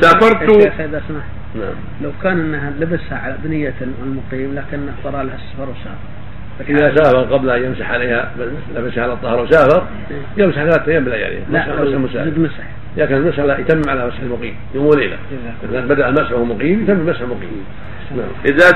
سافرت يا شيخ اذا سمحت نعم لو كان انها لبسها على بنية المقيم لكنه طرى لها السفر وسافر إذا سافر قبل أن يمسح عليها لبسها على الطهر وسافر يمسح ثلاثة أيام بلا يعني لا مسح مسح المسافر زد مسح لكن المسح لا يتم على مسح المقيم يوم وليلة جزاك الله. إذا بدأ مسحه مقيم يتم مسح المقيم نعم إذا